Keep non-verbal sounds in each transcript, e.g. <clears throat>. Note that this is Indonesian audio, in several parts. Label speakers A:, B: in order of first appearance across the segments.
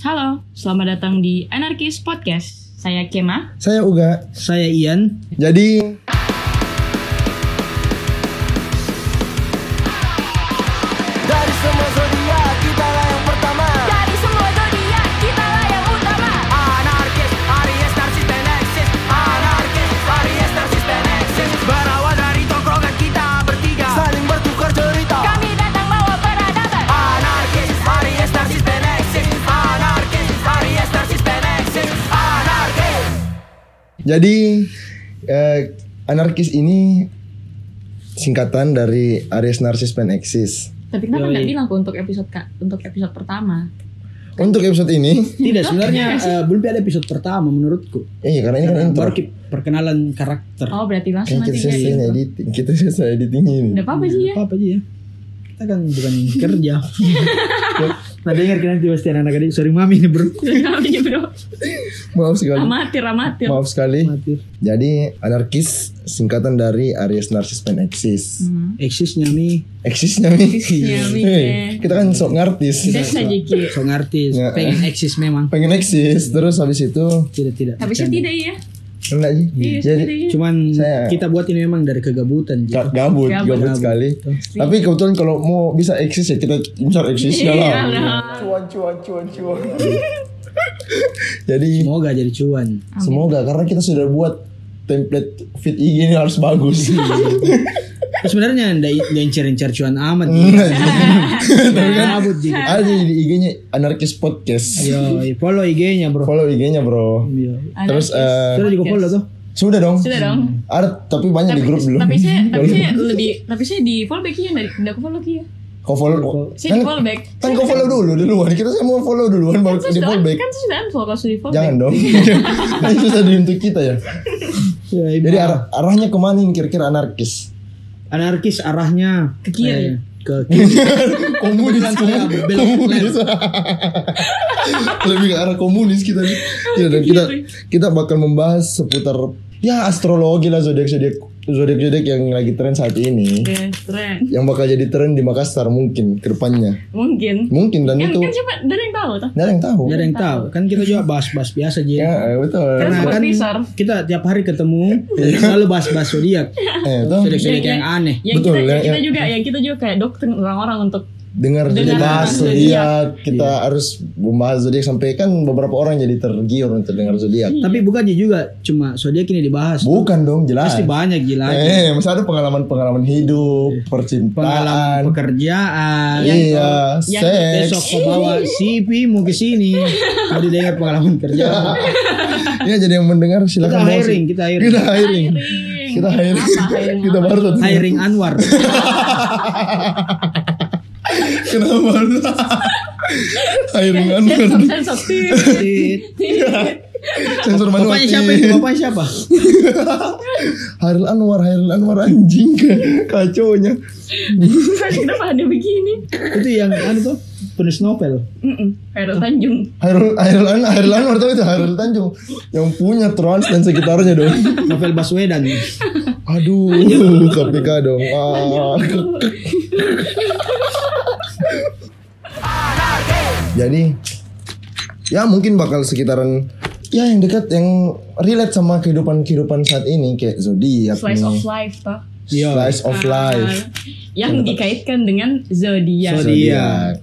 A: Halo, selamat datang di Anarkis Podcast. Saya Kema.
B: Saya Uga.
C: Saya Ian.
B: Jadi
D: Dari semua zodiak kita lah yang pertama.
E: Dari semua zodiak kita lah yang utama.
D: Anarkis, Aries, Narsis, dan Eksis. Anarkis, Aries, Narsis, dan Eksis. Berawal dari tongkrongan kita bertiga. Saling bertukar cerita.
E: Kami datang bawa peradaban.
D: Anarkis, Aries, Narsis, dan Eksis. Anarkis, Aries, Narsis, dan Eksis. Anarkis.
B: jadi eh, anarkis ini singkatan dari Aries Narsis Panexis.
A: Tapi kenapa
C: Yoi.
A: nggak bilang kok untuk episode ka- untuk episode pertama?
B: Untuk episode ini,
C: Tidak sebenarnya eh, belum ada episode pertama menurutku.
B: iya karena ini kan intro.
C: Baru ki- perkenalan karakter.
A: Oh, berarti langsung
B: Kan kita
A: nanti
B: selesai
A: jadi. intro.
B: editing, kita selesai editing ini.
A: Nggak apa-apa sih ya.
C: Apa apa aja ya? Kita kan bukan <laughs> kerja. nah dengar kan nanti pasti anak-anak adik. Sorry mami ini bro.
A: Namanya Iya, bro.
B: Maaf sekali.
A: Amatir, amatir.
B: Maaf sekali.
C: Matir.
B: Jadi anarkis singkatan dari Aries Narsis Panexis.
A: Hmm.
C: Eksisnya nih.
B: Eksisnya nih.
A: Iya, Mi.
B: Hei, kita kan sok ngartis.
A: Bisa saja Ki.
C: Song artis.
B: Ya.
C: Pengen eksis memang.
B: Pengen eksis, terus habis itu
C: Tidak tidak.
A: Tapi saya tidak ya.
B: enggak sih.
A: Iya,
B: Jadi
A: tidak ya.
C: Cuman
B: Saya-
C: kita buat ini memang dari kegabutan. Ji.
B: Ga- gabut,
A: Gabut.
B: gabut, sekali. Tapi kebetulan kalau mau bisa eksis ya kita incar eksis
A: Iya,
B: ya lah. Cuan, cuan, cuan, cuan. Jadi
C: Semoga jadi cuan.
B: semoga karena kita sudah buat template fit IG ini harus bagus.
A: Iya.
B: <laughs>
C: Tapi Sebenarnya ndak incer-incer cuan amat. Ji. Gabut juga.
B: Ada di IG-nya
A: Iya,
B: Anarkis Podcast.
C: Yo, follow IG-nya bro.
B: Follow IG-nya bro.
C: Yo.
B: Terus eh,
C: Sudah juga follow tuh.
B: sudah dong.
A: Sudah dong.
B: Ada tapi banyak
A: Tapi,
B: di grup belum.
A: tapi
B: <laughs>
A: saya tapi saya lebih tapi saya di follow back ya nggak nggak ke follow Ki ya.
B: Kau follow.
A: Saya di follow back.
B: Kan kau follow dulu duluan. Kita saya mau follow duluan baru
A: Saya
B: di
A: sudah-
B: follow back.
A: Kan saya sudah unfollow kalau sudah di follow
B: Jangan
A: back.
B: dong. <laughs> Ini susah di untuk kita ya.
C: Ya, ibu.
B: Jadi arah- arahnya kemana ini kira-kira anarkis?
C: anarkis arahnya
A: Ke kiri.
C: eh, ke kiri.
B: <laughs> Komunis,
C: Saya
B: komunis.
C: berbelok
B: Komunis. <laughs> Lebih ke arah komunis kita nih. Tidak, dan kita
C: Iya,
B: kita bakal membahas seputar ya astrologi lah zodiak zodiak zodiak zodiak yang lagi tren saat ini
A: Yes, keren.
B: yang bakal jadi tren di Makassar mungkin kedepannya
A: Mungkin.
B: mungkin dan
A: Kan,
B: Nah, itu
A: kan siapa dari yang tahu toh?
B: nggak ada yang tahu
C: Ya, Nggak ada yang tahu. Kan kita juga bahas-bahas biasa aja.
B: ya eh, betul
A: Terus
C: Karena
A: buat
C: kan
A: research.
C: kita tiap hari ketemu
B: Iya.
C: dan selalu bahas-bahas zodiak.
B: eh toh
C: Zodiak-zodiak yang aneh.
A: Yang
B: Betul,
A: kita, yang
B: ya,
A: kita
B: ya.
A: juga yang kita juga kayak dokter orang-orang untuk
B: dengar
A: Dengar
B: bahas
A: tentang
C: Iya.
B: zodiak kita harus membahas zodiak sampai kan beberapa orang jadi tergiur untuk dengar zodiak
C: Tapi bukan aja juga cuma zodiak ini dibahas.
B: bukan dong jelas
C: Pasti banyak gila.
B: Eh, masa ada pengalaman-pengalaman
C: Eh,
B: hidup,
C: Pengalaman
B: percintaan,
C: pekerjaan.
A: yang
B: iya,
C: Besok
B: seks.
C: kau bawa CV mau ke sini. Mau didengar pengalaman kerja.
B: Ya Iya, jadi yang mendengar
C: Kita
B: silakan. browsing.
C: hiring, kita hiring.
B: Kita hiring.
A: Hiring. <laughs>
B: Kita hiring.
A: Apa, hiring
B: Kita
A: apa?
B: baru tadi.
C: Hiring Anwar.
B: Kenapa baru? Hiring Anwar.
A: sensor sensor Tit,
C: Tit.
A: tit.
B: Sensor manual.
C: Bapaknya siapa itu? Bapaknya siapa?
B: Hairil Anwar, Hairil Anwar anjing kaconya.
A: <laughs> Kenapa ada begini?
C: itu yang anu tuh penulis novel.
A: Mm-mm. Khairul Tanjung.
B: Hairil Hairil Anwar, Hairil Anwar tahu itu Hairil Tanjung yang punya Trans dan sekitarnya dong.
C: Novel Baswedan.
B: Aduh, KPK dong. Ah. Jadi ya mungkin bakal sekitaran ya yang dekat yang relate sama kehidupan kehidupan saat ini kayak zodiak
A: Slice of
B: nih.
A: life toh.
C: Yo.
B: slice Hmm. of life
A: Ah, yang dikaitkan dengan zodiak.
C: Zodiak.
B: zodiak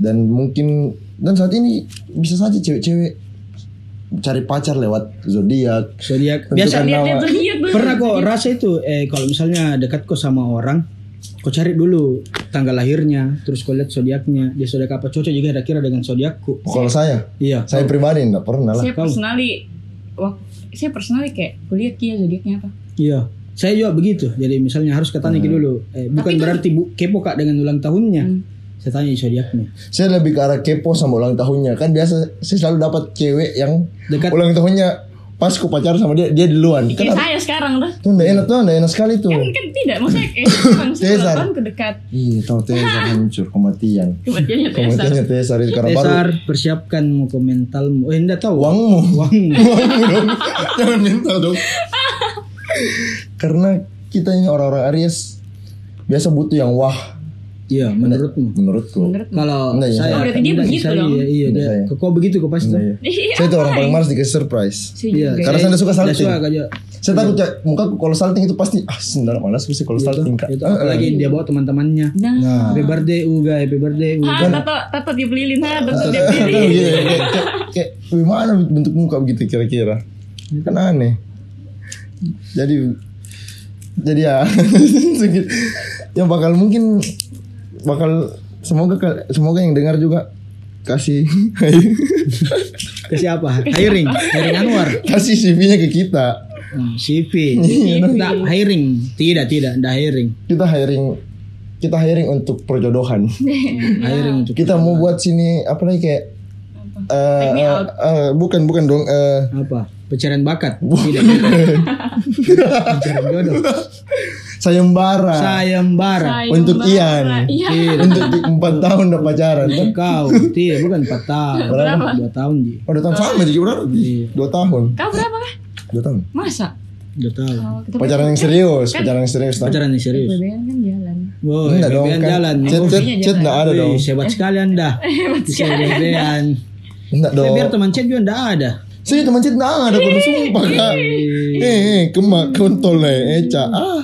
B: dan mungkin dan saat ini bisa saja cewek-cewek cari pacar lewat zodiak
C: Zodiak.
B: Tentukan
C: Biasa
A: Lihat lihat
B: Nama.
A: zodiak dulu.
C: kan pernah kok rasa itu eh kalau misalnya dekat kok sama orang kau cari dulu tanggal lahirnya terus kau lihat zodiaknya dia zodiak apa cocok juga kira-kira dengan zodiakku
B: kalau saya
C: iya
B: saya pribadi enggak pernah lah
A: Saya personally wah, saya personally kayak kulihat kia zodiaknya apa.
C: iya saya juga begitu jadi misalnya harus katanya
A: Hmm.
C: dulu eh, bukan
A: kan
C: berarti bu, kepo kak dengan ulang tahunnya saya tanya zodiaknya
B: saya lebih ke arah kepo sama ulang tahunnya kan biasa saya selalu dapat cewek yang
C: Dekat.
B: ulang tahunnya pas ku pacaran sama dia dia duluan
A: Kayak
B: kan
A: Ya, saya sekarang tuh.
B: tuh enggak enak tuh enggak enak sekali tuh
A: Kan, kan tidak, maksudnya
B: <laughs>
A: kayak orang
B: Cesar.
A: sebelum kedekat
B: Ih, tahu
A: <laughs>
B: Tesar hancur kematian.
A: kematiannya Cesar.
B: Kematiannya Tesar itu karena baru
C: Tesar persiapkan mau ke mentalmu eh enggak tahu
B: uangmu.
C: uang
B: Uangmu dong. <laughs> Jangan mental
A: <laughs>
B: dong. karena kita ini orang-orang Aries biasa butuh yang wah.
C: Iya, menurutmu.
B: menurutku
A: Menurutmu?
C: Kalau
B: Enggak, iya.
C: saya
A: Oh, berarti dia
C: enggak,
A: begitu
C: saya-
A: dong.
C: Iya, iya,
B: Enggak,
C: dia-
B: saya.
C: Kok kau begitu kok pasti.
B: Nah, iya.
A: Iya,
B: saya itu orang paling
A: apaan?
B: males dikasih surprise
A: Sih
C: Iya,
A: juga. ya.
B: Karena saya suka
C: Enggak
B: salting.
C: suka iya. kayak
B: saya takut cak muka aku kalau salting itu pasti ah sebenarnya malas sih kalau salting kak
C: Iya, itu apalagi
B: iya.
C: dia bawa teman-temannya.
A: Nah,
B: nah
C: Happy birthday Uga, happy birthday Uga.
B: kan.
A: ah, tato, tato dibeliin, nah, tato
B: Gitu,
A: dibeliin.
B: kayak- kayak- kayak gimana bentuk muka begitu kira-kira kan aneh jadi jadi ya <laughs> sedikit- yang bakal mungkin bakal semoga ke- semoga yang dengar juga kasih <laughs>
C: Ke siapa? Hiring, hiring Anwar.
B: kasih CV-nya ke kita
C: Hmm,
B: <laughs>
C: CV. Tidak hiring. Tidak, tidak, tidak hiring.
B: kita hiring kita hiring untuk perjodohan
C: Hiring untuk
B: kita mau buat sini apa lagi kayak eh,
A: Take me
B: eh,
A: out.
B: eh, bukan bukan dong eh,
C: apa? Pencarian bakat. Tidak. Pencarian jodoh.
B: <laughs> sayembara
C: Sayembara.
B: Untuk Ian.
A: Iya.
B: untuk di- empat tahun udah pacaran kan?
C: Kau, tidak, bukan 4 tahun.
A: Berapa?
C: Dua tahun, Ji.
B: Oh, dua tahun sama juga berapa? Dua tahun.
A: Kau berapa kah?
B: Dua tahun.
A: Masa?
C: Dua tahun.
A: Oh, kita
B: Pacaran yang serius, pacaran yang serius. Tam.
C: Pacaran nih serius.
A: BBM kan <laughs> jalan.
C: Wow,
B: Enggak dong
C: bebean
B: kan.
C: jalan. Iya,
B: Chat chat
C: Oh,
A: Bebean
B: chat
A: jalan.
B: enggak ada
C: wih,
B: dong.
C: Hebat sekali
A: <laughs>
C: Anda. Bisa bebean.
B: Enggak
C: Tapi
B: dong.
C: biar teman chat juga enggak ada.
B: Sih teman chat enggak ada gua sumpah Kak. Eh, eh, kemak kontol eh, Eca. Ah.
A: Iya.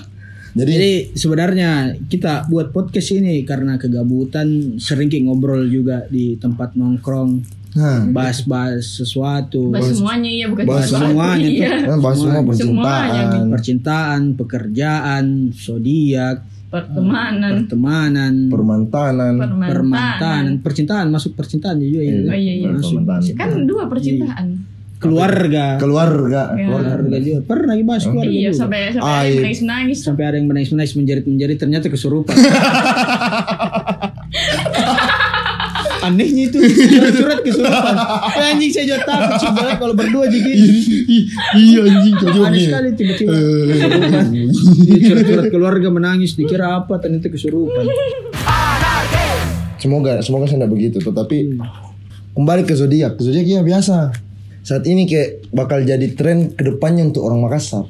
B: Jadi
C: Jadi sebenarnya kita buat podcast ini karena kegabutan sering kayak ngobrol juga di tempat nongkrong,
B: nah,
C: bahas-bahas sesuatu,
A: Bahas semuanya iya bukan
B: Bahas
A: sesuatu.
C: semuanya gitu. tuh.
A: Iya.
B: kan bahas semua
A: Semuanya,
B: percintaan.
C: percintaan, pekerjaan, zodiak,
A: Pertemanan,
C: pertemanan,
B: Permantanan.
A: permantanan.
C: permantaan, percintaan masuk percintaan juga ya.
A: Oh, iya, iya.
C: Masuk.
A: Kan dua percintaan.
C: Keluarga,
B: Keluarga, keluarga.
C: keluarga juga. Pernah dibahas keluarga
A: Iya,
C: juga.
A: sampai sampai ada yang
B: Aib.
A: nangis-nangis.
C: sampai ada yang menangis-menangis menjerit-menjerit ternyata
B: <laughs>
C: kesurupan. Anehnya itu curhat
B: <laughs>
C: kesurupan. Eh, anjing saya juga takut sih, Bang, kalau berdua jadi
B: Ih, Iya anjing cocok
C: aneh
B: nih.
C: sekali tiba-tiba.
B: Eh,
C: Iya, Curhat-curhat keluarga menangis dikira apa ternyata kesurupan.
B: Semoga semoga saya tidak begitu tetapi
C: Hmm.
B: kembali ke zodiak. Zodiak ya biasa. Saat ini kayak bakal jadi tren kedepannya untuk orang Makassar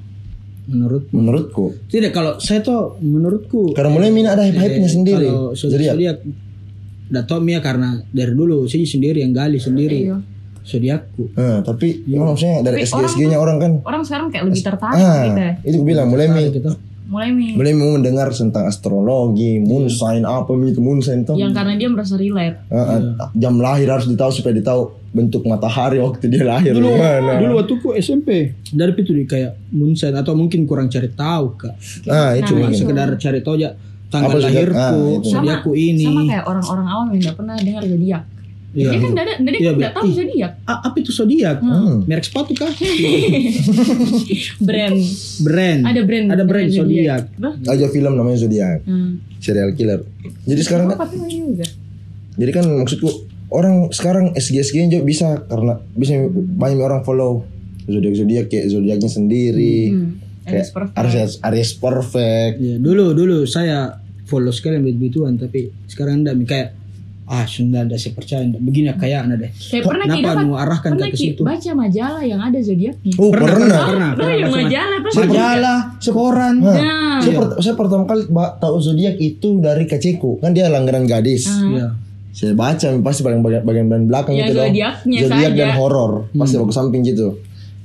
C: Menurut
B: menurutku.
C: tidak kalau saya tuh menurutku eh,
B: Karena mulai Mina ada hype-hype-nya sendiri.
C: Iya,
B: ya?
C: Kalau zodiak,
B: Zodiak.
C: zodiak Dato Mia karena dari dulu saya sendiri yang gali sendiri.
A: Iya.
C: Zodiakku.
B: Eh,
C: Iya.
B: tapi emang maksudnya
A: Tapi
B: dari SG SG-nya orang kan
A: Orang sekarang kayak lebih tertarik gitu ya.
B: ah itu gue bilang mulai Mi
C: Gitu.
A: Mulai nih
B: mulai mau mendengar tentang
C: Iya.
B: astrologi, moon sign apa gitu moon sign tuh.
A: yang karena dia merasa relate.
B: Eh,
C: Iya.
B: eh, jam lahir harus ditahu supaya ditahu bentuk matahari waktu dia lahir
C: dulu
B: Gimana?
C: dulu waktu ku SMP dari itu di kayak moonset atau mungkin kurang cari tahu kak
B: Ah, itu
A: Nah,
C: cuma
B: Iya.
C: sekedar cari tahu aja tanggal
B: Apa sudah-
C: lahirku
B: ah, itu.
C: zodiakku ini
A: sama kayak orang-orang awam yang nggak pernah dengar zodiak.
C: Iya.
A: Dia kan nggak ada, dia
C: Iya,
A: kan nggak
C: Bi.
A: tahu
C: Ih.
A: zodiak.
C: Ah, apa itu zodiak
B: Hmm.
C: merek sepatu kah
A: Brand,
C: brand
A: ada brand,
C: ada brand zodiak
A: Bah,
B: aja film namanya zodiak
A: Hmm.
B: serial killer. Jadi sekarang kan,
A: Oh, tapi nggak juga.
B: jadi kan maksudku orang sekarang SG SG juga bisa karena bisa banyak orang follow zodiak zodiak kayak zodiaknya sendiri.
A: Hmm. Aries
B: Kayak
A: perfect.
B: Aries Aries perfect.
C: Iya, dulu dulu saya follow sekali yang begituan tapi sekarang enggak Mi. kayak ah sudah enggak saya percaya enggak begini kayak anda deh
A: Kayak Eh, pernah
C: Kenapa
A: kita kan
C: mau arahkan
A: pernah
C: ke
A: Ki,
C: situ?
A: baca majalah yang ada zodiaknya.
B: Oh pernah.
C: pernah pernah,
A: Hmm. Pernah yang
C: pernah.
A: majalah terus
C: majalah koran
A: Nah,
B: Saya, per- saya pertama kali ba- tahu zodiak itu dari keciku kan dia langganan gadis.
C: Iya.
B: Saya baca pasti bagian bagian, bagian belakang
A: Hmm. Ya,
B: gitu dong.
A: zodiaknya
B: Zodiak dan
A: saja.
B: horor pasti aku samping gitu.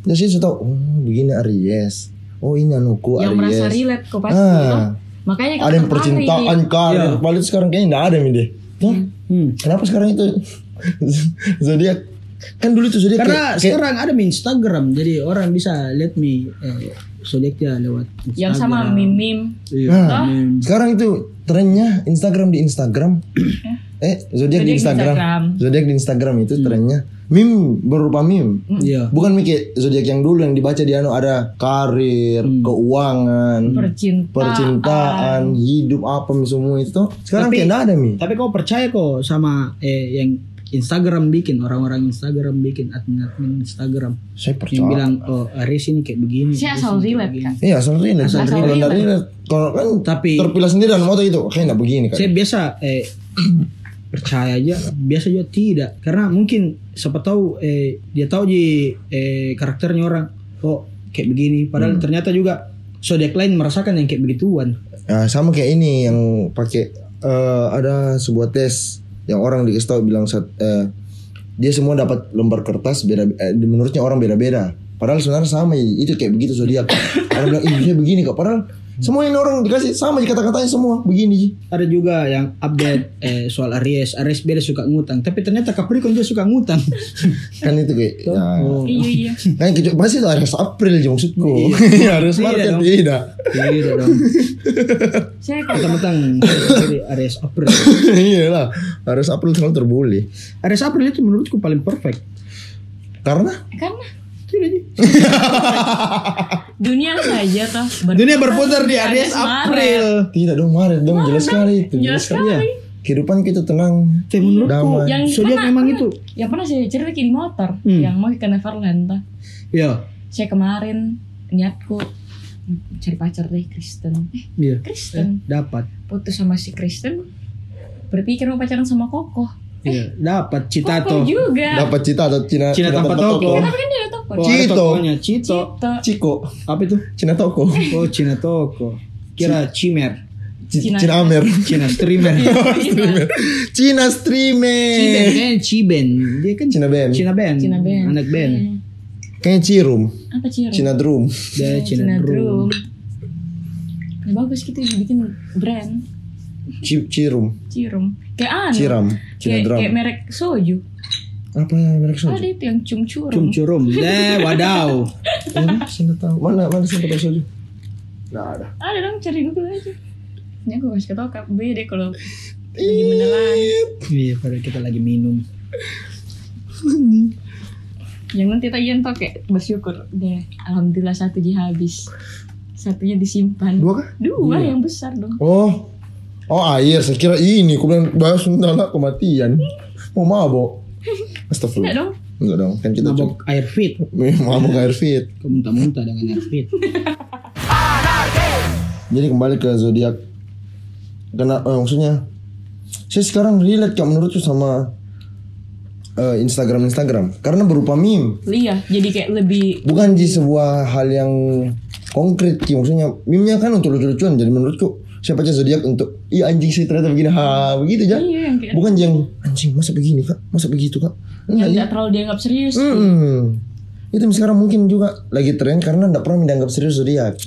B: Jadi saya sudah tahu oh begini Aries. Oh ini anuku Aries.
A: yang merasa relate kok pasti
B: Ah.
A: toh. Makanya kan kita
B: ada yang
A: tertarik.
B: percintaan
C: Iya.
B: karir paling sekarang kayaknya nggak ada nih deh Tuh,
C: Hmm.
B: kenapa sekarang itu <laughs> zodiak kan dulu tuh zodiak
C: Karena
B: kayak- kayak-
C: sekarang ada mi Instagram, jadi orang bisa lihat mi eh, zodiak dia lewat Instagram.
A: yang sama mimim
C: Iya,
B: Nah,
C: meme.
B: sekarang itu trennya Instagram di Instagram eh zodiak di
A: Zodiak di
B: Instagram
A: Instagram.
B: zodiak di Instagram itu trennya meme berupa meme
C: Iya.
B: bukan mikir zodiak yang dulu yang dibaca di anu ada karir
C: Mm.
B: keuangan
A: percintaan.
B: percintaan hidup apa semua itu tuh sekarang
C: Tapi-
B: kayak nggak ada mi
C: Tapi kau percaya kok sama eh, yang Instagram bikin orang-orang Instagram bikin admin-admin Instagram
B: saya
C: yang
B: percaya
C: bilang oh Aries ini kayak begini.
A: Saya
C: Aries
A: asal
C: ini kayak
A: relate
C: begini."
A: kan.
B: Iya, asal relate.
C: Asal
B: Kalau
A: relate.
B: nggak relate, kalau kan
C: Tapi-
B: terpilah sendiri dan motor itu kayaknya begini kan.
C: Saya biasa eh <clears throat> percaya aja, biasa juga tidak. Karena mungkin siapa tahu eh dia tahu di eh karakternya orang oh kayak begini padahal
B: Hmm. Ya,
C: ternyata juga zodiak lain merasakan yang kayak begituan.
B: Nah, sama kayak ini yang pakai eh, ada sebuah tes yang orang dikasih tahu bilang sat- eh, dia semua dapat lembar kertas beda eh, menurutnya orang beda-beda. Padahal sebenarnya sama ya, itu kayak begitu zodiak. Orang bilang ih dia begini kak. Padahal semua ini orang dikasih sama aja kata-katanya semua begini. Ji.
C: Ada juga yang <laughs> update eh, soal Aries. Aries beda suka ngutang, tapi ternyata Capricorn juga suka ngutang.
B: Kan itu kayak nah,
C: Oh.
A: Iya iya.
B: kan kecuali pasti itu harus April aja maksudku.
C: Iya.
B: <laughs> harus kan
C: Tidak
B: market
C: dong.
B: tidak.
C: Gitu dong.
A: Saya kok
C: Mentang-mentang dari Aries April.
B: <laughs> Iya lah harus April selalu terboleh.
C: Aries April itu menurutku paling perfect.
B: Karena
A: karena
C: Tidak Ji.
A: dunia saja toh ber-
C: Dunia berputar di
A: Maret.
C: Aries April.
B: tidak dong Maret dong jelas sekali itu.
A: Jelas sekali.
B: Kehidupan kita tenang.
C: Tapi menurutku
B: Damai.
A: Yang
C: ya. zodiak
A: pernah-
C: memang
A: pernah-
C: itu.
A: Yang pernah saya cerita di motor
C: Hmm.
A: yang mau ke Neverland toh.
C: Ya,
A: Saya kemarin niatku cari pacar deh Kristen. Eh,
C: iya.
A: Kristen
C: Dapat.
A: putus sama si Kristen berpikir mau pacaran sama Kokoh.
C: Iya, dapat
A: Kokoh
C: Citato.
A: juga.
B: Dapat cita atau Cina
C: Cina tanpa toko.
A: Tapi kan dia ada toko.
C: Oh, ada
B: Cito.
C: tokonya Cito.
A: Cito.
B: Ciko,
C: Apa itu?
B: Cina toko,
C: Oh, Cina toko. Kira Cimer,
B: C-
A: Cina-
B: Cina Amer,
C: Cina streamer.
A: Iya.
B: Cina
C: Ciben
B: streamer,
C: kan Ciben. Dia kan
B: Cina band,
C: Cina band.
A: Cina band.
C: Anak band.
A: Hmm.
B: kayaknya Cirum,
A: Apa Iya, sih? Ren?
B: Cina drum.
C: Dia Cina, drum.
A: Ya, bagus gitu bikin brand
B: Ci- Cirum,
A: Cirum. Kayak anu.
B: Ciram, Cina
A: Kayak,
B: drum.
A: kayak merek soju.
B: Apa yang merek soju?
A: Ada itu yang cumcurum.
C: Cumcurum. <laughs>
B: Eh,
C: Deh, wadaw.
B: Mana Cina tahu? Mana mana Cina tahu soju? Nggak ada.
A: Ada dong cari Google aja. Ini aku kasih tau kak B deh kalau lagi menelan.
C: Iya, pada kita lagi minum.
A: Yang nanti tagihan tau kayak bersyukur deh. Alhamdulillah satu ji habis. Satunya disimpan.
B: Dua kah?
A: Dua yang besar dong.
B: Oh, oh air. Saya kira ini. Aku bilang bahas tentang anak kematian. Mau mabok.
A: Enggak
B: Astagfirullah.
A: dong.
B: Enggak dong. Kan kita cuma-
C: Mabok air fit.
B: <laughs> mabok air fit.
C: Kau muntah-muntah dengan air fit.
B: Jadi kembali ke zodiak. Karena eh, maksudnya saya sekarang relate kak menurutku sama Instagram Instagram karena berupa meme
A: Iya, jadi kayak lebih
B: bukan di sebuah hal yang konkret sih maksudnya meme-nya kan untuk lucu-lucuan jadi menurutku saya baca zodiak untuk iya anjing sih ternyata begini ha begitu
A: Iya,
B: aja
A: yang kayak-
B: bukan yang anjing masa begini kak masa begitu kak
A: yang
B: enggak ya
A: nggak terlalu dianggap serius.
B: Hmm.
A: Hmm.
B: Mm-mm. itu sekarang mungkin juga lagi tren karena tidak pernah dianggap serius zodiak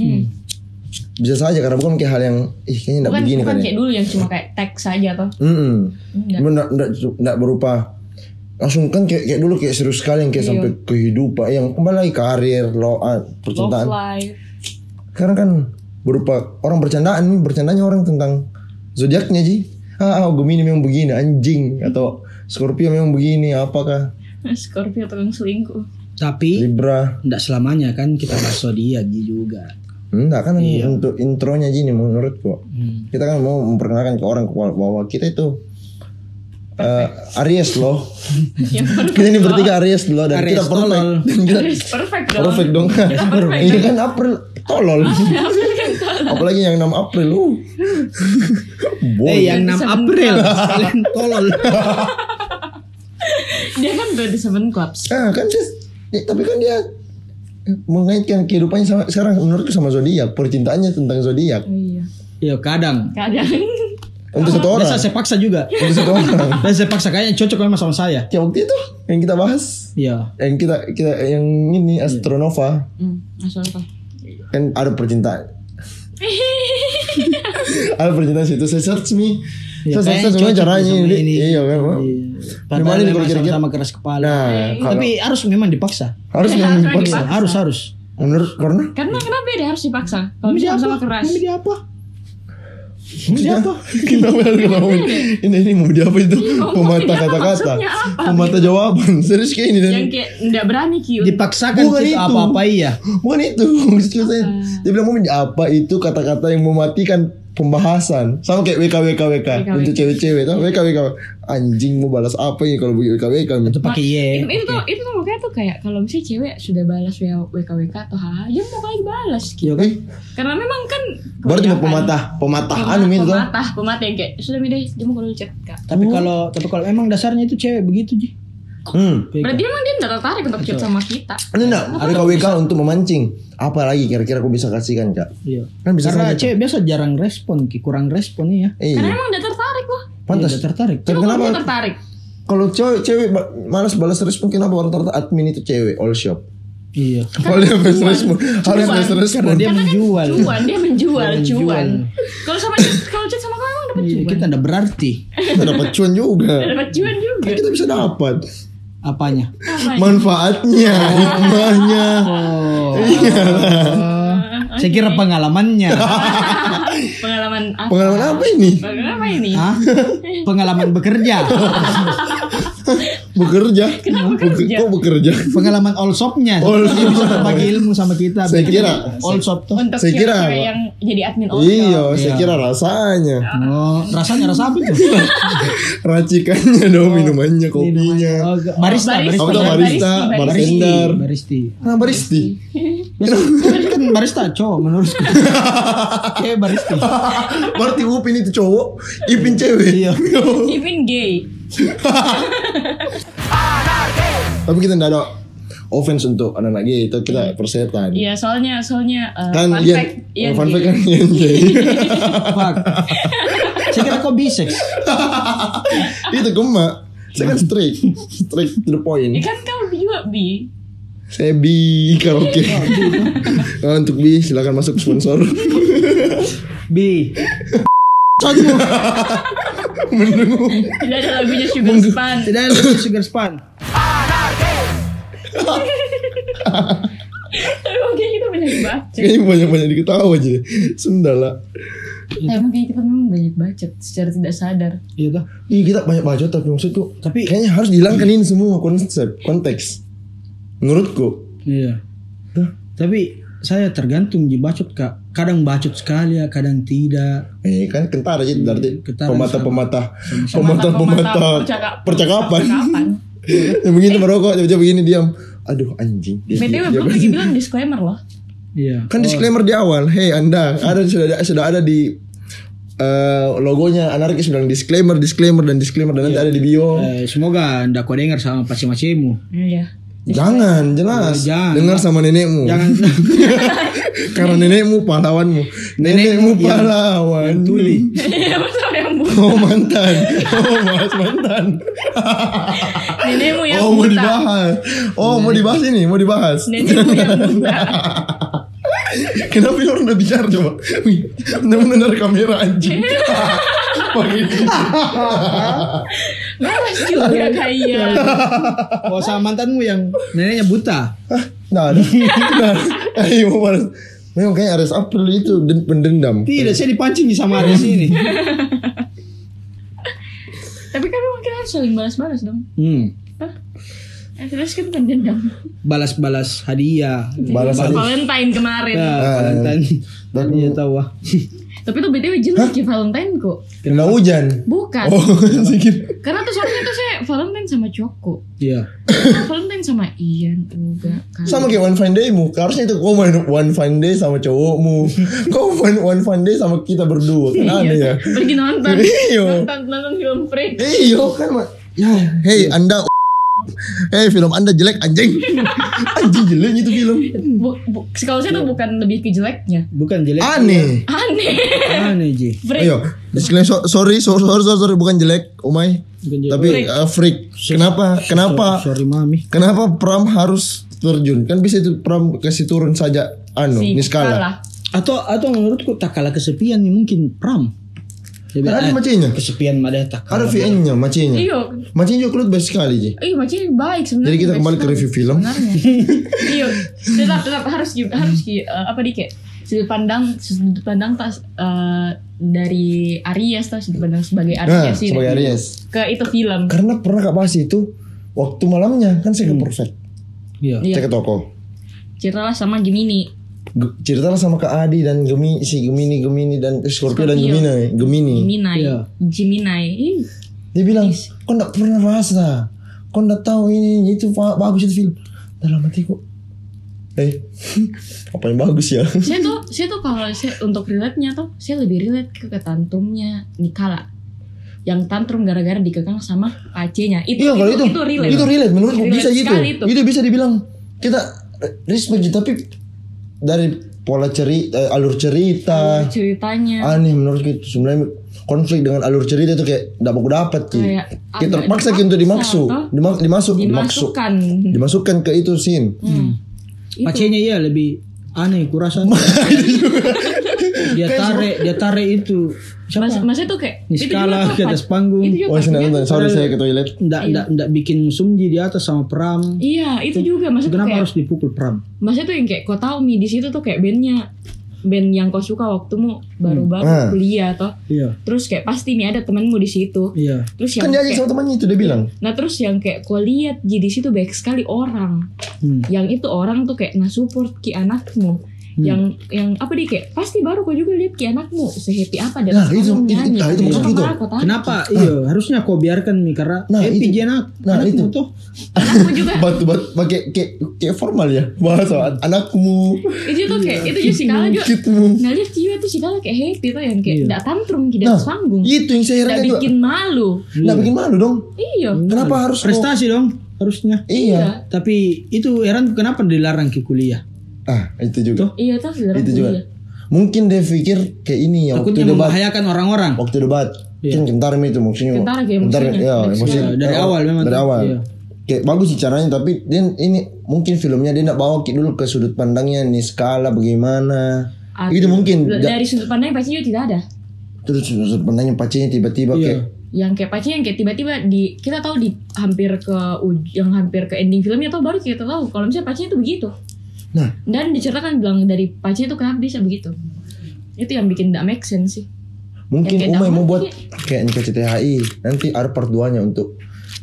B: bisa saja karena bukan kayak hal yang ih kayaknya tidak
A: Bukan,
B: begini
A: bukan
B: kan ya
A: kayak dulu yang cuma kayak teks saja toh.
B: Mm-mm.
A: Enggak.
B: Cuma nggak- nggak- nggak berupa langsung kan kayak, kayak dulu kayak serius sekali yang kayak
A: Iya.
B: sampai kehidupan yang kembali lagi karir lo ah,
A: Love
B: percintaan
A: life. <laughs>
B: Karena kan berupa orang bercandaan nih, bercandanya orang tentang zodiaknya Ji. Ah, ah, Gemini memang begini, anjing atau Scorpio memang begini, apakah
A: Scorpio tukang selingkuh.
C: Tapi
B: Libra?
C: tidak selamanya kan kita bakso dia Ji, juga.
B: Enggak kan untuk intronya Ji nih menurutku. Kita kan mau memperkenalkan ke orang bahwa kita itu eh, Aries loh.
A: yang perfect.
B: Kita ini bertiga Aries loh dan
C: Aries
B: kita perfect.
C: tolol.
B: Dan
A: <laughs>
B: kita
A: Yes, perfect dong.
B: perfect dong. Iya kan April tolol. Apalagi yang 6 April uh. lu.
C: Eh, yang
A: Bisa
C: 6 April. Kalian tolol.
A: Dia kan udah di Seven Clubs.
B: Ah kan dia, ya, tapi kan dia mengaitkan kehidupannya sama sekarang menurutku sama zodiak percintaannya tentang zodiak
A: Oh, iya.
C: Ya kadang.
A: Kadang
B: untuk satu orang
C: Biasa saya paksa juga.
B: untuk satu orang
C: Dan saya paksa kayaknya cocok memang sama saya.
B: ya waktu itu yang kita bahas
C: Iya.
B: yang kita kita yang ini astronova
A: hmm, asal apa?
B: kan ada percintaan ada percintaan situ saya search me
C: Ya,
B: saya search semuanya
C: kayaknya cocok
B: caranya
C: sama
B: ini
C: ini.
B: iya kan Mak?
C: Padahal
B: Gimana nih
C: memang
B: kalau kira-kira?
C: sama keras kepala.
B: nah kalau-
C: Tapi harus memang dipaksa.
B: harus
A: Iya,
B: memang dipaksa
A: Paksa.
C: Harus harus.
B: menurut karena
A: <laughs> Karena kenapa dia harus dipaksa? Kalau bisa sama keras.
C: Mau dia apa?
B: Iya.
C: Mau dia apa?
B: <laughs> Kenapa? Kenapa harus ngomong ini ini mau dia apa itu?
A: Iya,
B: Pemata
A: apa?
B: kata-kata,
A: Maksudnya apa? Gitu.
B: pemata jawaban. Serius kayak ini dan
A: Yang kayak nggak berani ki.
C: Dipaksakan
B: Bukan
C: kita
B: itu.
C: apa-apa iya.
B: bukan itu. <laughs> Maksud saya,
A: Ah.
B: dia bilang mau apa itu kata-kata yang mematikan pembahasan sama kayak WK WK WK untuk cewek-cewek tau WK WK anjing mau balas apa ya kalau begitu WK WK
C: Itu pakai ye.
B: iya,
A: Itu, itu tuh itu tuh makanya tuh kayak kalau misalnya cewek sudah balas WKWK atau HH, dia mau kali balas
C: Iya
A: gitu.
C: kan?
A: Karena memang kan
B: Eh, baru cuma
A: kebanyakan-
B: pematah pematah
A: Pematah,
B: anu itu kan
A: pematah, pematah yang kayak sudah mi deh, dia mau kalau chat kak.
C: Tapi
B: Oh.
C: kalau tapi kalau emang dasarnya itu cewek begitu, Ji. Iya.
B: hmm
A: Berarti emang dia nggak tertarik untuk chat sama kita.
B: ini enggak ada WK untuk memancing apa lagi kira-kira aku bisa kasihkan kak
C: Iya.
B: Kan bisa
C: Karena
B: saja.
C: cewek biasa jarang respon, Ki. kurang respon ya.
A: Karena
B: iya
A: emang udah tertarik
B: Pantas.
C: Iya, tertarik.
B: Tapi
A: Coba
B: kenapa
A: kalau tertarik.
B: kalau cewek cewek ba- malas balas respon kenapa orang tertarik admin itu cewek all shop.
C: Iya.
B: Kalau dia balas respon, harus balas respon.
C: Karena dia
A: Karena kan
C: menjual.
A: Cuan, dia menjual,
C: Dia menjual.
A: cuan. Kalau sama kalau chat sama kamu emang dapat
C: Iya,
A: cuan.
C: kita ada berarti
B: <laughs> Kita dapat cuan juga.
A: dapat cuan juga.
B: Kan kita bisa dapat
C: apanya.
A: Apa ya?
B: manfaatnya, hikmahnya.
C: <laughs> Oh.
B: Iya.
C: Saya kira
B: <laughs>
C: pengalamannya.
A: Pengalaman apa?
B: Pengalaman apa ini?
A: Pengalaman apa ini?
C: Hah? Pengalaman bekerja.
B: Bekerja.
A: Kenapa
B: Beker-
A: kerja?
B: Kok bekerja?
C: Pengalaman all shopnya.
B: All
C: Dia bisa berbagi ilmu sama kita.
B: Saya
C: Bikin
B: kira.
C: all shop tuh.
A: Untuk
B: Saya kira,
A: cewek-cewek
B: Pak.
A: yang jadi admin all
B: Iya,
A: shop.
B: saya
C: Iya.
B: kira rasanya.
C: Oh, rasanya rasa apa itu?
B: Racikannya dong, minumannya, <laughs> kopinya.
C: Oh, barista,
A: Barista.
C: barista.
B: Kamu tuh barista,
A: Barista, barista.
B: bartender.
C: Baristi.
B: Nah, baristi.
C: Biasa kan barista cowok <laughs> menurutku. Kayak barista.
B: Berarti Upin itu cowok, Ipin cewek. <laughs>
C: Iya.
A: Even gay.
B: Tapi kita nggak ada offense untuk anak-anak gay, itu kita persetan.
A: Iya, soalnya soalnya eh,
B: Kan
A: fun
B: Ian,
A: fact, Ian
B: fun fact
A: gay.
B: kan
A: <laughs>
B: Ian gay.
C: Fuck. Saya kira kau bisex.
B: itu gemak. Saya kan straight, straight to
A: Ya
B: the point.
A: kan kamu juga bi.
B: Saya bi karaoke.
A: Iya,
B: <laughs> Nah, untuk bi silakan masuk
A: <laughs>
B: sponsor.
C: B.
A: Tidak ada lagunya
B: <laughs>
A: Sugar Span.
C: Tidak ada lagi sugar span.
A: Tapi mungkin kita banyak baca.
B: Kayaknya banyak-banyak diketawa aja deh. Sundala.
A: Tapi mungkin kita memang banyak baca secara tidak sadar.
C: Iya tuh.
B: Ih, kita banyak bacot tapi maksudku
C: Tapi-
B: kayaknya harus dihilangkan ini semua konsep konteks. Menurutku.
C: Iya. Tapi saya tergantung di bacot kak. Kadang bacot sekali ya, kadang tidak.
B: Eh kan kentar aja berarti
C: Kentara
B: pematah-pematah pematah-pematah
A: percaka-
B: percakapan. <laughs>
A: percakapan.
B: Yang begini merokok tiba-tiba begini diam. Aduh anjing. Dia-
A: BTW
B: dia-
A: belum
B: dia-
A: lagi bilang disclaimer loh.
C: Iya.
B: Kan disclaimer di awal, hey Anda, ada sudah ada, sudah ada di eh, logonya anarkis bilang disclaimer, disclaimer dan disclaimer dan nanti ada di bio.
C: Eh, semoga anda kau dengar sama pasti macemu.
A: Iya.
B: Jangan, jelas.
C: Eh, jangan.
B: Dengar sama nenekmu.
C: Jangan
B: <laughs> Karena nenekmu pahlawanmu. Nenekmu
C: Nenekmu yang-
B: pahlawan.
C: tuli.
A: Iya, betul yang bu.
B: <laughs> Oh mantan. Oh mas mantan.
A: Nenekmu yang
B: Oh mau
A: buta.
B: dibahas. Oh mau dibahas ini, mau dibahas.
A: Nenekmu yang buta.
B: Kenapa ini orang udah bicara coba? Wih, benar-benar kamera anjing. Pakai gitu. gini.
A: Balas juga kayak.
C: <laughs> Oh sama mantanmu yang neneknya buta.
B: Hah? Nah, ada. Nah, ayo mau balas. Memang kayak Ares April itu den- pendendam.
C: Tidak, saya dipancing sama ada sini.
A: Tapi kan memang kita harus saling balas-balas dong.
C: Hmm.
A: Eh, terus kan pendendam.
C: Balas-balas hadiah.
B: Balas Nah, Valentine.
A: Valentine kemarin.
C: Ya, Valentine. Dan dia tahu ah.
A: Tapi tuh BTW jelas ya Valentine kok.
B: Kena hujan.
A: Bukan. <laughs>
B: Oh, <laughs> sikit.
A: Karena tuh soalnya tuh saya Valentine sama
B: <coughs>
A: Coko.
C: Iya.
A: Valentine sama Ian juga kan.
B: Sama kayak One Fine Day mu Harusnya itu kau main One Fine Day sama <laughs> cowokmu Kau main One Fine Day sama kita berdua Kan aneh ya
A: Iya. Pergi
B: <laughs>
A: nonton.
B: Iya.
A: nonton nonton film freak.
B: Iyo kan Ma. Ya Hey anda <laughs> Hey film anda jelek anjing Anjing jelek itu film
A: Bu, bu, kalau saya
B: Iya.
A: tuh bukan lebih ke jeleknya.
C: Bukan jelek.
B: Aneh
A: Aneh.
B: <laughs>
C: Aneh Ji.
A: Freak.
B: Ayo disclaimer so- sorry, so- sorry sorry sorry bukan jelek Umay
C: Bukan jelek.
B: Tapi
A: Freak.
B: eh, freak Kenapa Kenapa
C: Sorry mami.
B: Kenapa Pram harus terjun Kan bisa itu Pram kasih turun saja Anu
A: Si
B: Niskala
A: Kala.
C: Atau atau menurutku tak kalah kesepian nih mungkin pram. Saya bilang,
B: Ada
C: eh,
B: macinya
C: kesepian ada tak kalah.
B: Ada VN nya macinya
A: Iya.
B: Macinya juga kelut baik sekali Ji
A: Iya macamnya baik sebenarnya.
B: Jadi kita
A: baik
B: kembali ke
A: sekali
B: review film.
A: Sebenarnya. Iya. Tetap tetap harus gi- harus gi- eh, apa di kayak sudut pandang sudut pandang tas eh, dari Aries tuh sudut pandang sebagai
B: Nah,
A: Aries sih.
B: sebagai Aries.
A: Ke itu film.
B: Karena pernah Kak bahas itu waktu malamnya kan saya ke perfect.
C: Iya.
A: Hmm. Iya.
B: Saya ke toko.
A: Ceritalah sama Gemini.
B: G- ceritalah sama Kak Adi dan Gemi si Gemini Gemini dan eh, Scorpio, dan
A: Scorpio.
B: Gemini Gemini.
A: Gemini.
C: Iya.
A: Gemini. Ih,
B: Dia bilang, "Kau enggak pernah rasa. Kau enggak tahu ini ini, itu fa- bagus itu film." Dalam hatiku. Eh, <laughs> apa yang bagus ya?
A: Saya tuh saya tuh kalau saya untuk relate-nya tuh saya lebih relate ke ketantumnya Nikala. Yang tantrum gara-gara dikekang sama pacinya. Itu
B: Iya kalau itu
A: itu relate.
B: Itu relate menurutku
A: Relate
B: bisa gitu.
A: sekali
B: Itu.
A: itu.
B: bisa dibilang kita eh, respect gitu, tapi dari pola cerita, alur cerita, eh,
A: Ceritanya.
B: ah, aneh menurut gitu sebenarnya konflik dengan alur cerita tuh kayak nggak baku dapat Ki.
A: Kayak
B: Kayak
A: agak
B: terpaksa Ki untuk
A: dipaksa,
B: dimaksud,
A: toh.
B: Dima- dimasuk, dimaksud,
A: dimasukkan
B: dimasukkan ke itu scene.
A: Hmm. Itu.
C: Pacenya iya lebih aneh
B: <laughs>
C: kurasa. dia tarik, dia tarik itu. Siapa?
A: Mas, maksudnya tuh kayak
C: Ini
A: itu
C: skala
A: juga tuh
C: ke atas
A: part-
C: panggung.
A: Itu juga
B: Oh, saya
A: partnya-
B: nonton. Sorry saya ke toilet.
C: Nggak, nggak, nggak bikin sumji di atas sama Pram.
A: Iya, itu juga maksudnya tuh
C: Kenapa
A: kayak
C: harus dipukul Pram?
A: maksudnya tuh yang kayak kau tahu Mi di situ tuh kayak bandnya band yang kau suka waktumu baru-baru
B: Hmm. Ah.
A: kuliah toh.
C: Iya,
A: Terus kayak pasti nih ada temanmu di situ.
C: iya.
A: Terus yang
B: Kan diajak
A: kayak-
B: sama temannya itu dia bilang.
A: Nah terus yang kayak kau lihat Ji, di situ baik sekali orang.
C: Hmm.
A: Yang itu orang tuh kayak nah support ki anakmu.
B: Hmm.
A: Yang yang apa dia kayak pasti baru kau juga lihat ki anakmu sehappy apa dan
B: Nah, itu- itu- nah, itu maksud gitu.
A: ah?
C: Kenapa? Iya, harusnya kau biarkan nih karena
B: Nah,
C: eh,
B: itu.
C: pijian aku.
B: Nah,
C: anakmu
B: itu.
C: tuh.
A: Anakmu juga
B: <laughs> Batu batu pakai kayak kayak formal ya. Bahasa <laughs> anakmu,
A: itu
B: Gitu.
A: tuh kayak itu juga si Kala Iya juga
B: kitmu.
A: Nah lihat cewek tuh si Kala kayak happy tuh yang kayak
C: Iya.
A: nggak tantrum tidak
B: Nah,
A: panggung
B: itu yang saya
A: nggak
B: heran juga.
A: bikin malu
B: Nggak bikin malu dong.
A: iya
B: Kenapa harus mau-
C: prestasi dong harusnya?
B: Iya.
C: Tapi itu heran kenapa dilarang ke kuliah?
B: Ah, itu juga.
C: Tuh.
A: iya tuh saudara
B: Itu
A: kuliah.
B: juga. Mungkin dia pikir kayak ini ya waktu
C: Takutnya
B: debat.
C: membahayakan orang-orang.
B: Waktu debat.
C: Iya.
B: Kan kentar itu maksudnya.
A: Kentara kayak maksudnya.
B: iya,
A: Dari
B: maksudnya.
C: segala- dari awal memang
B: Dari
C: tuh.
B: awal.
C: Iya.
B: Kayak bagus sih caranya tapi dia ini mungkin filmnya dia nak bawa dulu ke sudut pandangnya nih skala bagaimana.
A: Ah,
B: itu mungkin
A: da-
B: Ja-
A: dari sudut pandang pasti juga tidak ada
B: terus sudut pandangnya pacinya tiba-tiba
C: Iya.
B: kayak
A: yang kayak pacinya yang kayak tiba-tiba di kita tahu di hampir ke uj- yang hampir ke ending filmnya tuh baru kita tahu kalau misalnya pacinya itu begitu
B: Nah.
A: dan diceritakan bilang dari pacinya itu kenapa bisa begitu itu yang bikin tidak make sense sih
B: mungkin
A: kayak
B: Umay
A: Dahlan
B: mau buat
A: sih.
B: kayak NKCTHI nanti ada part 2 nya untuk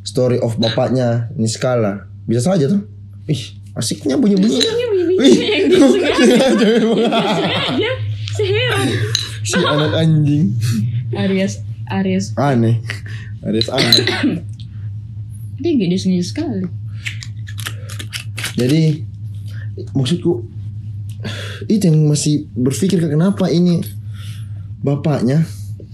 B: story of bapaknya nih skala bisa saja tuh ih asiknya bunyi bunyinya
A: ini bibinya yang disengaja
B: <laughs>
A: iya, sengaja seheran
B: si anak anjing
A: Aries Aries
B: aneh Aris aneh
A: dia nggak disengaja sekali
B: Jadi maksudku itu yang masih berpikir kenapa ini bapaknya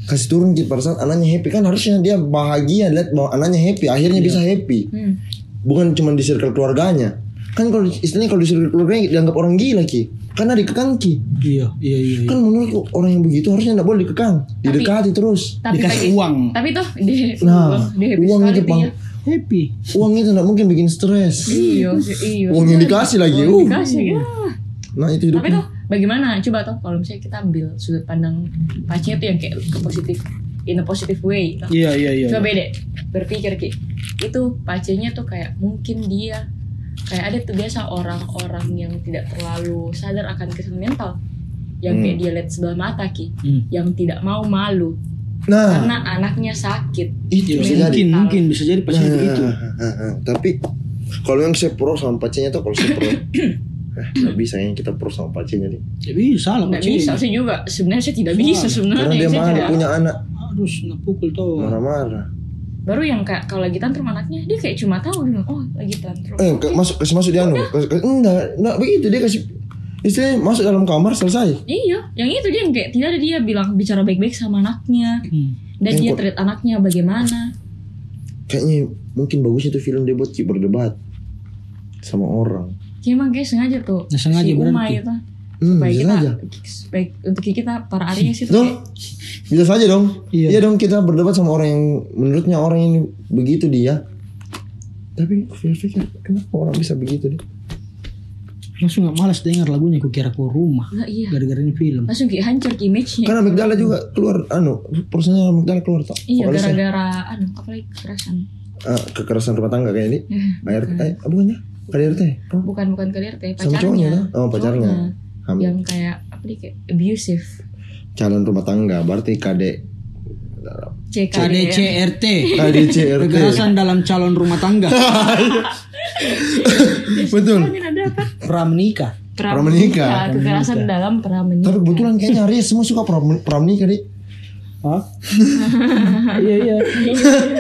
B: kasih turun gitu pada saat anaknya happy kan harusnya dia bahagia lihat bahwa anaknya happy akhirnya bisa happy
A: hmm.
B: bukan cuma di circle keluarganya kan kalau istilahnya kalau di circle keluarganya dianggap orang gila ki Kan karena dikekang ki
C: Iya, iya, iya. iya.
B: kan menurutku orang yang begitu harusnya tidak boleh dikekang didekati terus
A: tapi
C: Dikasih
A: tapi-
C: uang.
A: tapi toh dia
B: nah
A: dia Iya. happy
B: uang
A: sekali
B: itu
A: dia.
B: pang
C: Happy.
B: uang itu tidak mungkin bikin stres
A: Iya, iya.
B: uang yang dikasih lagi
A: Uang
B: uh.
A: dikasih, ya.
B: nah
A: Tapi
B: itu hidupnya
A: tuh bagaimana? Coba tuh kalau misalnya kita ambil sudut pandang pacinya tuh yang kayak ke positif in a positive way. Tuh.
C: Iya, iya, iya.
A: Coba deh berpikir ki. Itu pacinya tuh kayak mungkin dia kayak ada tuh biasa orang-orang yang tidak terlalu sadar akan kesehatan mental yang
B: Hmm.
A: kayak dia lihat sebelah mata ki
C: Hmm.
A: yang tidak mau malu
B: nah
A: karena anaknya sakit
B: itu
C: Iya,
B: bisa
A: Mungkin.
B: jadi
C: mungkin, mungkin bisa jadi pasti
B: Nah,
C: itu.
B: <laughs> tapi kalau yang saya pro sama pacinya tuh kalau saya pro eh, nggak bisa yang kita pro sama pacinya nih
C: Jadi Ya, iya, salah
A: nggak
C: Cik.
A: bisa sih juga sebenarnya saya tidak bisa sebenarnya
B: Ah, karena dia
A: Saya
B: marah
A: tidak-
B: punya anak
C: Harus ngepukul tuh.
B: marah-marah
A: baru yang kayak kalau lagi tantrum anaknya dia kayak cuma tahu dia bilang, oh lagi tantrum
B: eh ke- masuk kasih masuk dia anu Kasih- kasih- enggak enggak begitu dia kasih istilahnya masuk dalam kamar selesai
A: iya yang itu dia yang kayak tidak ada dia bilang bicara baik-baik sama anaknya
C: Hmm.
A: dan
B: Yang
A: dia
B: kok-
A: treat anaknya bagaimana
B: kayaknya mungkin bagusnya tuh film dia buat ki berdebat sama orang
A: kayak emang kayak sengaja tuh
C: Nah, sengaja
A: si Umay
C: berarti.
A: itu
B: Ya, hmm,
A: supaya
B: bisa
A: kita
B: saja
A: baik untuk kita para Aries itu
B: dong
A: kayak,
B: bisa saja dong
C: Iya.
B: iya dong kita berdebat sama orang yang menurutnya orang ini begitu dia tapi pikir-pikir kenapa orang bisa begitu deh
C: Langsung nggak malas dengar lagunya kukira ku rumah.
A: "Lah, iya
C: Gara-gara ini film.
A: langsung kayak hancur kayak image-nya
B: Karena amigdala juga keluar anu, personnya amigdala keluar tak?
A: iya gara-gara anu apa lagi kekerasan <laughs>
B: Ah, kekerasan rumah tangga kayak ini.
A: Eh,
B: ART eh bukannya? KDRT. Oh,
A: bukan bukan kalian teh
B: sama
A: pacarnya
B: cowoknya dah. Oh, pacarnya. Ham-
A: yang kayak apa nih kayak abusive
B: Calon rumah tangga berarti KD
A: CKDR
C: KDCRT.
B: KDCRT.
C: Kekerasan dalam calon rumah tangga.
B: <laughs> Betul.
A: Kan ada apa
C: Pramenikah.
A: Pramenika,
B: Pramenika.
A: kekerasan dalam pramenika.
B: Tapi kebetulan kayaknya Arya semua suka pram pramenika deh.
A: <laughs>
C: Hah? iya iya.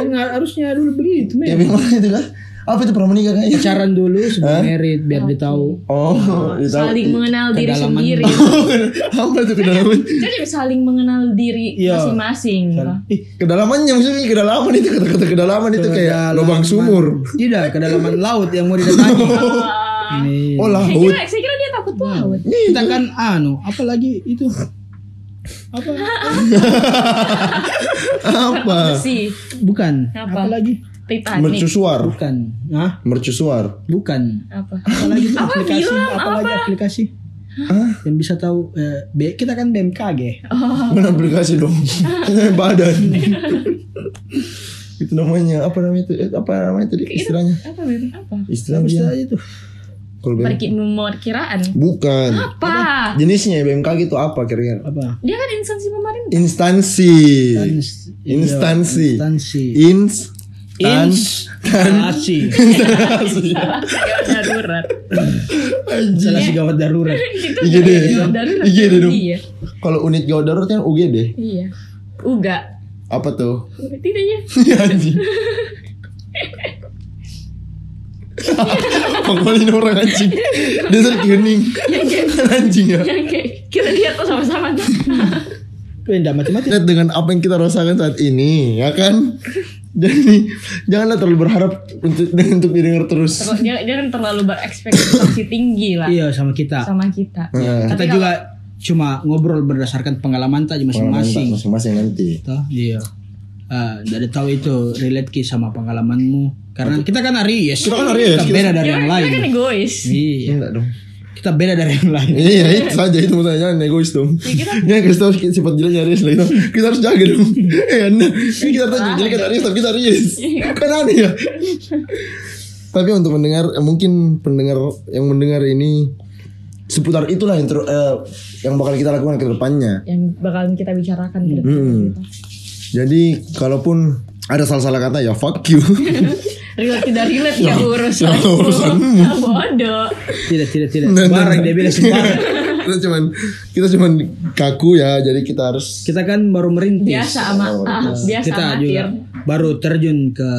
C: Nggak, harusnya dulu begitu,
A: Iya.
B: Ya
C: men.
B: memang itu kan. Apa itu pramenika kayaknya?
C: Pacaran dulu sebelum merit biar dia tahu.
B: Oh, dia tahu. gitu.
A: saling mengenal diri
C: Kedalaman.
A: sendiri.
B: <laughs> Apa itu kedalaman?
A: Jadi saling mengenal diri
C: Iya.
A: masing-masing.
B: Kan?
C: Ih,
B: Kedalamannya maksudnya kedalaman itu kata-kata kedalaman itu kayak
C: kedalaman-
B: lubang sumur.
C: Tidak, kedalaman laut yang
B: <laughs>
C: mau didatangi. Nih.
A: Saya
B: Oh laut.
A: Eh, Iya. kira, saya kira dia takut laut.
C: Kita kan anu, apalagi itu apa
B: Apa?
A: Oh, sih
C: bukan
A: Apa?
C: apa, lagi
A: Titanic
B: Mercusuar.
C: bukan ah
B: Mercusuar.
C: bukan
A: apa
C: apa lagi tuh aplikasi
A: bilang?
C: apa, lagi aplikasi
B: Hah?
C: yang bisa tahu eh, B- kita kan BMKG
B: Mana aplikasi dong? Badan. itu namanya apa namanya itu? Eh, Apa namanya tadi istilahnya?
A: apa bim apa
B: Istilah
C: bisa
B: dia.
C: itu
B: Kalau BMK.
A: pergi memperkiraan
B: Bukan.
A: apa
B: Jenisnya ya, BMKG itu apa kira-kira?
C: apa
A: dia kan instansi pemerintah
B: Instansi.
C: Instansi.
B: Iya.
C: Iya,
B: Instansi.
C: Instansi.
B: Ins.
C: Instansi. Iya.
A: <laughs> ya darurat
C: Salah si gawat darurat.
A: <laughs>
C: Iya,
A: Itu
B: IGD.
A: dari gawat darurat.
B: IGD dong.
A: iya
B: Kalau unit gawat darurat kan UGD.
A: iya uga
B: Apa tuh? <laughs>
A: tidak ya
B: Iya anjing. Pokoknya orang anjing. Dia tuh kuning.
A: yang kayak
B: anjing ya.
A: yang kayak kita lihat tuh sama-sama tuh.
C: Itu yang mati mati.
B: Lihat dengan apa yang kita rasakan saat ini, ya kan? <laughs> Jadi janganlah terlalu berharap untuk <laughs> untuk didengar terus.
A: Terlalu- jangan, jangan kan terlalu berekspektasi tinggi lah
C: Iya sama kita.
A: sama kita
B: Nah,
C: Kita juga cuma ngobrol berdasarkan pengalaman tadi
B: masing-masing
C: masing-masing.
B: Nah, masing-masing nanti.
C: Toh, iya. Ah, dari tahu itu relate ki sama pengalamanmu karena kita kan Aries
B: Kita kan Aries,
C: kita
B: kita-
C: beda dari
A: Jangan-
C: yang
A: kita
C: lain
A: kan egois
C: iya
B: Enggak dong.
C: kita beda dari yang lain
B: Iya itu saja itu maksudnya jangan egois dong. <laughs> Ya kita harus sifat jelek nyaris lah gitu. Kita harus jaga dong. <laughs> Eh anda, ini kita tahu jelek kita tapi kita rilis. Kan aneh ya. Tapi untuk mendengar eh, mungkin pendengar yang mendengar ini seputar itulah yang ter- eh, yang bakal kita lakukan ke depannya.
A: yang bakalan kita bicarakan ke depan gitu.
B: Hmm. Jadi kalaupun ada salah-salah kata ya fuck
C: <laughs>
B: you.
A: relate tidak relate ya urusan
B: ya urusanmu.
A: Ya, bodoh
C: tidak tidak tidak
B: Nah, nah,
C: barang
B: nah.
C: dia bilang sembarang
B: <laughs> kita cuman kita cuman kaku ya. Jadi kita harus
C: kita kan baru merintis
A: biasa ama ah, biasa
C: kita
A: amatir
C: juga Nah, baru terjun ke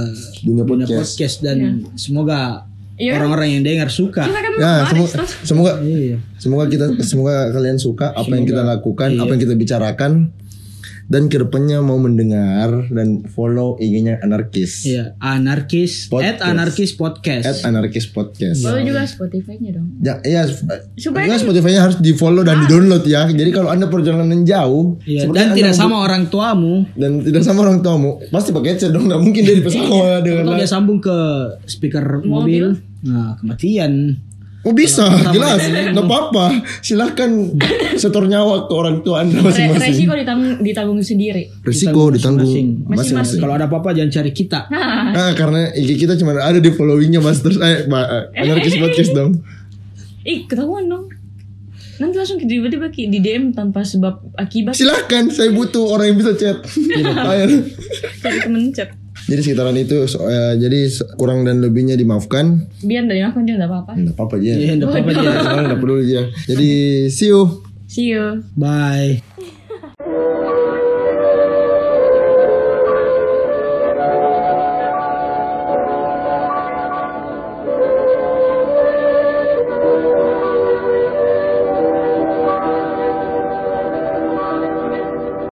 B: dunia
C: dunia
B: podcast.
C: podcast dan semoga
A: Iya.
C: orang-orang yang dengar suka.
A: kita kan
B: Ya,
A: baris
B: semoga,
A: terus
B: semoga
C: Iya.
B: Semoga kita semoga kalian suka apa yang kita lakukan,
C: Iya.
B: apa yang kita bicarakan dan kedepannya mau mendengar dan follow IG-nya anarkis
C: Iya, anarkis
B: Podcast.
C: at anarkis podcast.
B: at anarkis podcast.
C: Iya.
A: Lalu juga Spotify-nya dong.
B: Ja- iya, s-
A: Supaya
B: juga
A: kan-
B: Spotify-nya harus di follow dan di download ya. Jadi kalau anda perjalanan jauh
C: Iya,
B: seperti
C: dan
B: Anda
C: tidak
B: mau-
C: sama orang tuamu.
B: dan tidak sama orang tuamu pasti pakai headset dong. Nggak mungkin dia di pesawat kan. dengan
C: Kalau
B: lain.
C: dia sambung ke speaker mobil, nah kematian.
B: Oh bisa,
C: Sama Iya,
B: jelas,
C: nenek.
B: nggak apa-apa. Silahkan setor nyawa ke orang tua anda
A: Re-
B: masing-masing.
A: resiko ditanggung, ditanggung sendiri.
B: Resiko ditanggung
C: Masing-masing.
A: Masing-masing.
B: masing-masing.
C: Kalau ada apa-apa jangan cari kita.
B: Ah, karena IG kita cuma ada di followingnya mas terus eh ma- eh, anarkis podcast dong.
A: Ih, ketahuan dong. Nanti langsung tiba-tiba ki- di DM tanpa sebab akibat
B: <laughs> Silahkan, saya butuh orang yang bisa chat.
C: Iya.
B: <laughs> Ayo.
A: cari temen chat.
B: jadi sekitaran itu, so- eh, jadi se- kurang dan lebihnya dimaafkan.
A: Biar dari aku dia enggak apa-apa.
B: Nggak apa-apa aja. <laughs>
C: Iya, enggak apa-apa.
B: Nggak peduli aja. Jadi see you.
A: See you.
C: Bye.